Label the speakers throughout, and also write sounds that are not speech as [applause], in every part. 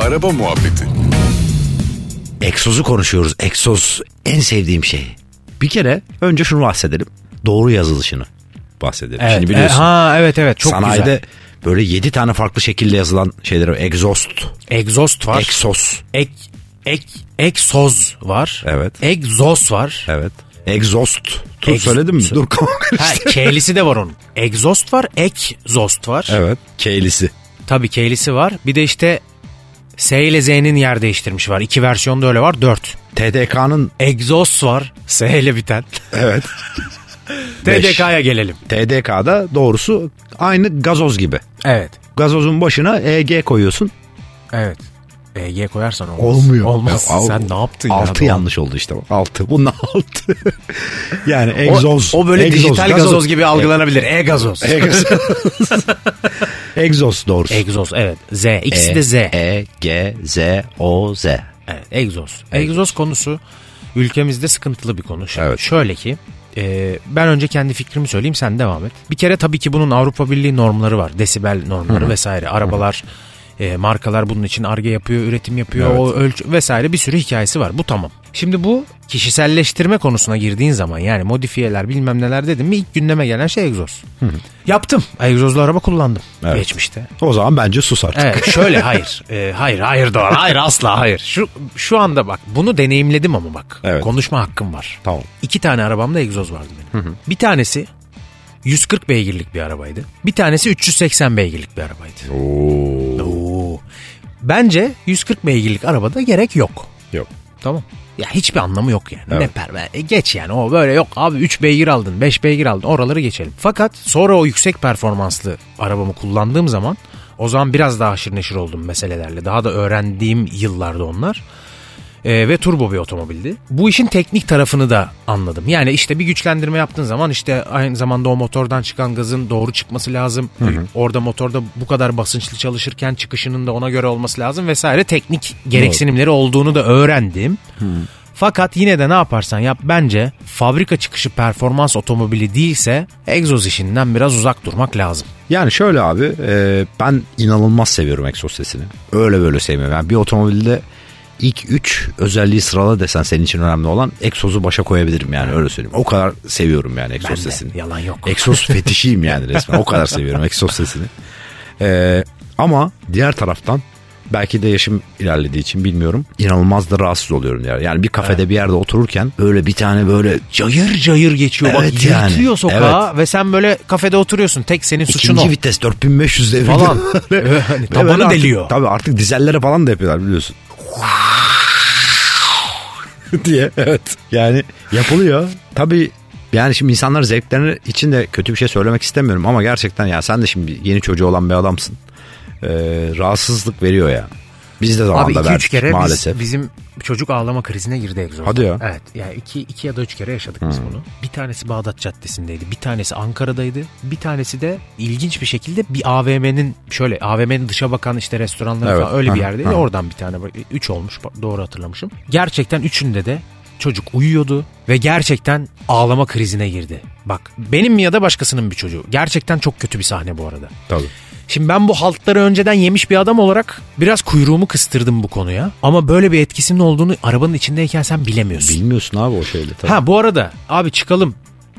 Speaker 1: Araba muhabbeti.
Speaker 2: Egzozu konuşuyoruz. Egzoz en sevdiğim şey. Bir kere önce şunu bahsedelim. Doğru yazılışını bahsedelim.
Speaker 3: Evet.
Speaker 2: Şimdi biliyorsun.
Speaker 3: E, ha evet evet çok
Speaker 2: sanayide
Speaker 3: güzel.
Speaker 2: böyle 7 tane farklı şekilde yazılan şeyler var. Egzost,
Speaker 3: Egzost var.
Speaker 2: egzoz.
Speaker 3: ek ek egzoz var.
Speaker 2: Evet.
Speaker 3: Egzoz var.
Speaker 2: Evet. E- Egzost. Dur
Speaker 3: Egz-
Speaker 2: söyledim mi?
Speaker 3: Sö-
Speaker 2: Dur [laughs] kafam
Speaker 3: Ha,
Speaker 2: karıştı.
Speaker 3: K'lisi de var onun. Egzost var, ekzost var.
Speaker 2: Evet. Keylisi.
Speaker 3: Tabii K'lisi var. Bir de işte S ile Z'nin yer değiştirmişi var. İki versiyonda öyle var. Dört.
Speaker 2: TDK'nın
Speaker 3: Egzoz var. S ile biten.
Speaker 2: evet. [laughs] Beş.
Speaker 3: TDK'ya gelelim.
Speaker 2: TDK'da doğrusu aynı gazoz gibi.
Speaker 3: Evet.
Speaker 2: Gazozun başına EG koyuyorsun.
Speaker 3: Evet. EG koyarsan olmaz.
Speaker 2: Olmuyor.
Speaker 3: Olmaz.
Speaker 2: Ya, al-
Speaker 3: Sen ne yaptın ya?
Speaker 2: Altı
Speaker 3: Doğan?
Speaker 2: yanlış oldu işte. bak. Altı. Bunun altı. [laughs] yani
Speaker 3: O,
Speaker 2: egzoz.
Speaker 3: o böyle
Speaker 2: egzoz, E
Speaker 3: dijital gazoz, gibi algılanabilir. E E-gazoz.
Speaker 2: Egzoz. egzoz doğrusu.
Speaker 3: Egzoz evet. Z.
Speaker 2: E,
Speaker 3: İkisi E, de Z.
Speaker 2: E, G, Z, O, Z.
Speaker 3: Evet, egzoz. Egzoz konusu ülkemizde sıkıntılı bir konu. Ş-
Speaker 2: Evet.
Speaker 3: Şöyle ki e, ben önce kendi fikrimi söyleyeyim sen devam et. Bir kere tabii ki bunun Avrupa Birliği normları var. Desibel normları vesaire. Arabalar, e, markalar bunun için arge yapıyor, üretim yapıyor, o ölçü vesaire bir sürü hikayesi var. Bu tamam. Şimdi bu kişiselleştirme konusuna girdiğin zaman yani modifiyeler bilmem neler dedim mi ilk gündeme gelen şey egzoz. Yaptım. Egzozlu araba kullandım
Speaker 2: Evet.
Speaker 3: geçmişte.
Speaker 2: O zaman bence sus artık.
Speaker 3: Evet
Speaker 2: [laughs]
Speaker 3: şöyle hayır. Ee, hayır hayır Doğan. Hayır asla hayır. Şu şu anda bak bunu deneyimledim ama bak.
Speaker 2: Evet.
Speaker 3: Konuşma hakkım var.
Speaker 2: Tamam.
Speaker 3: İki tane arabamda egzoz vardı benim. Bir tanesi 140 beygirlik bir arabaydı. Bir tanesi 380 beygirlik bir arabaydı. Oo. Bence 140 beygirlik arabada gerek yok.
Speaker 2: Yok.
Speaker 3: Tamam. Ya hiçbir anlamı yok yani.
Speaker 2: Evet.
Speaker 3: Ne perver. e, geç yani o böyle yok abi 3 beygir aldın 5 beygir aldın oraları geçelim. Fakat sonra o yüksek performanslı arabamı kullandığım zaman o zaman biraz daha haşır neşir oldum meselelerle. Daha da öğrendiğim yıllarda onlar. E, ve turbo bir otomobildi. Bu işin teknik tarafını da anladım. Yani işte bir güçlendirme yaptığın zaman işte aynı zamanda o motordan çıkan gazın doğru çıkması lazım. Orada motorda bu kadar basınçlı çalışırken çıkışının da ona göre olması lazım vesaire teknik gereksinimleri olduğunu da öğrendim. Fakat yine de ne yaparsan yap bence fabrika çıkışı performans otomobili değilse egzoz işinden biraz uzak durmak lazım.
Speaker 2: Yani şöyle abi e, ben inanılmaz seviyorum egzoz sesini. Öyle böyle sevmiyorum. Yani bir otomobilde ilk 3 özelliği sırala desen senin için önemli olan egzozu başa koyabilirim yani öyle söyleyeyim. O kadar seviyorum yani egzoz
Speaker 3: Ben de,
Speaker 2: sesini.
Speaker 3: yalan yok.
Speaker 2: Egzoz fetişiyim yani resmen. O kadar seviyorum egzoz sesini. Ee, ama diğer taraftan belki de yaşım ilerlediği için bilmiyorum. İnanılmaz da rahatsız oluyorum yani. Yani bir kafede bir yerde otururken böyle bir tane böyle
Speaker 3: Cayır cayır geçiyor bak
Speaker 2: Evet yani,
Speaker 3: yırtıyor sokağa ve sen böyle kafede oturuyorsun tek senin suçun
Speaker 2: ikinci
Speaker 3: o.
Speaker 2: vites 4500 devirde [laughs]
Speaker 3: falan.
Speaker 2: Böyle- Ve
Speaker 3: Hani
Speaker 2: böyle
Speaker 3: tabanı
Speaker 2: artık-
Speaker 3: deliyor.
Speaker 2: Tabii artık dizellere falan da yapıyorlar biliyorsun. [laughs] diye evet. Yani yapılıyor. Tabii yani şimdi insanlar zevklerine için de kötü bir şey söylemek istemiyorum ama gerçekten ya sen de şimdi yeni çocuğu olan bir adamsın. Ee, rahatsızlık veriyor ya. Biz de
Speaker 3: Abi
Speaker 2: zamanında
Speaker 3: 2 3
Speaker 2: verdik
Speaker 3: kere
Speaker 2: maalesef.
Speaker 3: Biz, bizim çocuk ağlama krizine girdi egzozda.
Speaker 2: Hadi ya. Hmm.
Speaker 3: Evet. Yani 2 2 ya da 3 kere yaşadık biz bunu. Bir tanesi Bağdat Caddesi'ndeydi, bir tanesi Ankara'daydı, bir tanesi de ilginç bir şekilde bir AVM'nin şöyle AVM'nin dışa bakan işte restoranları
Speaker 2: Evet.
Speaker 3: falan öyle bir
Speaker 2: Hı,
Speaker 3: yerdeydi.
Speaker 2: hı.
Speaker 3: Oradan bir tane 3 olmuş doğru hatırlamışım. Gerçekten üçünde de çocuk uyuyordu ve gerçekten ağlama krizine girdi. Bak benim mi ya da başkasının bir çocuğu. Gerçekten çok kötü bir sahne bu arada.
Speaker 2: Tabii.
Speaker 3: Şimdi ben bu haltları önceden yemiş bir adam olarak biraz kuyruğumu kıstırdım bu konuya. Ama böyle bir etkisinin olduğunu arabanın içindeyken sen bilemiyorsun.
Speaker 2: Bilmiyorsun abi o şeyle tabii.
Speaker 3: Ha bu arada abi çıkalım.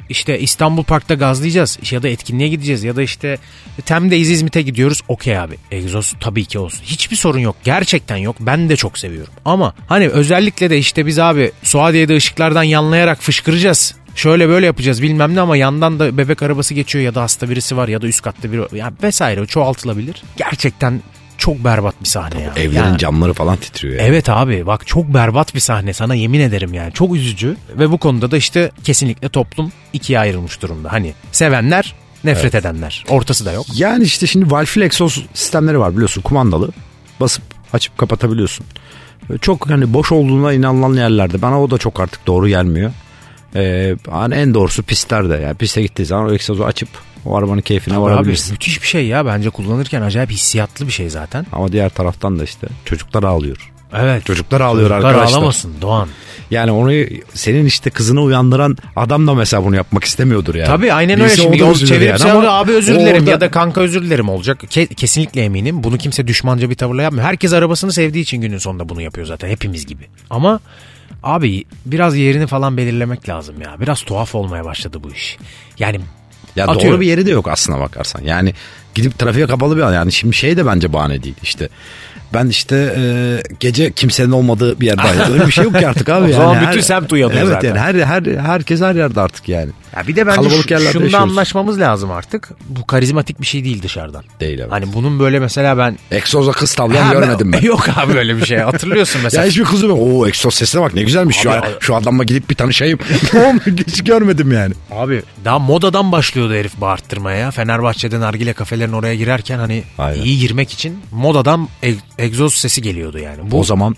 Speaker 3: İşte İstanbul Park'ta gazlayacağız ya da etkinliğe gideceğiz ya da işte Tem'deyiz İzmit'e gidiyoruz. Okey abi egzoz tabii ki olsun. Hiçbir sorun yok gerçekten yok ben de çok seviyorum. Ama hani özellikle de işte biz abi Suadiye'de ışıklardan yanlayarak fışkıracağız. Şöyle böyle yapacağız bilmem ne ama yandan da bebek arabası geçiyor ya da hasta birisi var ya da üst katta biri ya vesaire o çoğaltılabilir. Gerçekten çok berbat bir sahne ya.
Speaker 2: Evlerin
Speaker 3: Yani-
Speaker 2: camları falan titriyor yani.
Speaker 3: Evet abi bak çok berbat bir sahne sana yemin ederim yani çok üzücü ve bu konuda da işte kesinlikle toplum ikiye ayrılmış durumda. Hani sevenler nefret edenler ortası da yok.
Speaker 2: Yani işte şimdi valfil egzoz sistemleri var biliyorsun kumandalı. Basıp açıp kapatabiliyorsun. Böyle Çok hani boş olduğuna inanılan yerlerde bana o da çok artık doğru gelmiyor. Ee, hani en doğrusu pistlerde yani piste gittiği zaman o egzozu açıp o arabanın keyfine
Speaker 3: Abi
Speaker 2: varabilirsin.
Speaker 3: müthiş bir şey ya bence kullanırken acayip hissiyatlı bir şey zaten.
Speaker 2: Ama diğer taraftan da işte çocuklar ağlıyor.
Speaker 3: Evet.
Speaker 2: Çocuklar ağlıyor
Speaker 3: Çocuklar
Speaker 2: arkadaşlar.
Speaker 3: ağlamasın Doğan.
Speaker 2: Yani onu senin işte kızını uyandıran adam da mesela bunu yapmak istemiyordur yani.
Speaker 3: Tabii aynen öyle
Speaker 2: Birisi
Speaker 3: şimdi
Speaker 2: orada
Speaker 3: yol
Speaker 2: üzülür
Speaker 3: çevirip
Speaker 2: yani
Speaker 3: sen
Speaker 2: ama
Speaker 3: orada abi özür
Speaker 2: o
Speaker 3: dilerim
Speaker 2: orada-
Speaker 3: ya da kanka özür dilerim olacak. Ke- kesinlikle eminim. Bunu kimse düşmanca bir tavırla yapmıyor. Herkes arabasını sevdiği için günün sonunda bunu yapıyor zaten hepimiz gibi. Ama abi biraz yerini falan belirlemek lazım ya. Biraz tuhaf olmaya başladı bu iş. Yani
Speaker 2: Ya
Speaker 3: Atıyorum.
Speaker 2: doğru bir yeri de yok aslına bakarsan. Yani gidip trafiğe kapalı bir an. Yani şimdi şey de bence bahane değil işte. Ben işte e, gece kimsenin olmadığı bir yerde ayrıldım. Öyle bir şey yok ki artık abi.
Speaker 3: [laughs] O
Speaker 2: yani.
Speaker 3: zaman bütün semt uyanıyor
Speaker 2: evet,
Speaker 3: zaten.
Speaker 2: Evet yani her, her, herkes her yerde artık yani.
Speaker 3: ya bir de bence
Speaker 2: Kalabalık
Speaker 3: şu,
Speaker 2: yerlerde
Speaker 3: şunu
Speaker 2: yaşıyoruz.
Speaker 3: anlaşmamız lazım artık. Bu karizmatik bir şey değil dışarıdan.
Speaker 2: Değil evet.
Speaker 3: Hani bunun böyle mesela ben...
Speaker 2: Exoz'a kız tavlayan
Speaker 3: Ha,
Speaker 2: görmedim ben.
Speaker 3: [laughs] Yok abi öyle bir
Speaker 2: [laughs]
Speaker 3: şey. Hatırlıyorsun
Speaker 2: Ya
Speaker 3: mesela.
Speaker 2: hiçbir kızım yok. Oo Exos sesine bak ne güzelmiş. şu,
Speaker 3: Abi-
Speaker 2: şu adamla gidip bir tanışayım. [laughs] Oğlum, Hiç görmedim yani.
Speaker 3: Abi daha modadan başlıyordu herif bağırttırmaya. Fenerbahçe'den nargile kafelerin oraya girerken hani
Speaker 2: Aynen.
Speaker 3: iyi girmek için modadan eg- egzoz sesi geliyordu yani. Bu
Speaker 2: O zaman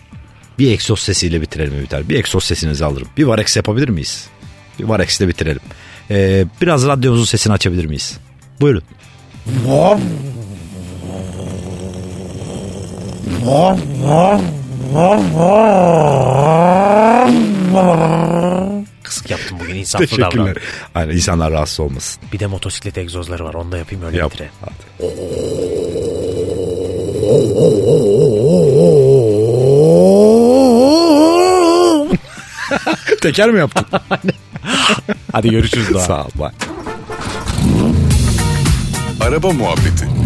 Speaker 2: bir Exos sesiyle bitirelim biter. Bir Exos sesinizi alırım. Bir Varex yapabilir miyiz? Bir Varex'le bitirelim. Ee, biraz radyomuzun sesini açabilir miyiz? Buyurun.
Speaker 3: kısık yaptım bugün insaflı davran.
Speaker 2: Aynen insanlar rahatsız olmasın.
Speaker 3: Bir de motosiklet egzozları var onu da yapayım öyle
Speaker 2: Yap.
Speaker 3: bitire.
Speaker 2: Hadi.
Speaker 3: [laughs]
Speaker 2: Teker mi yaptın?
Speaker 3: Hadi görüşürüz daha.
Speaker 2: Sağ ol. Bye.
Speaker 1: Araba Muhabbeti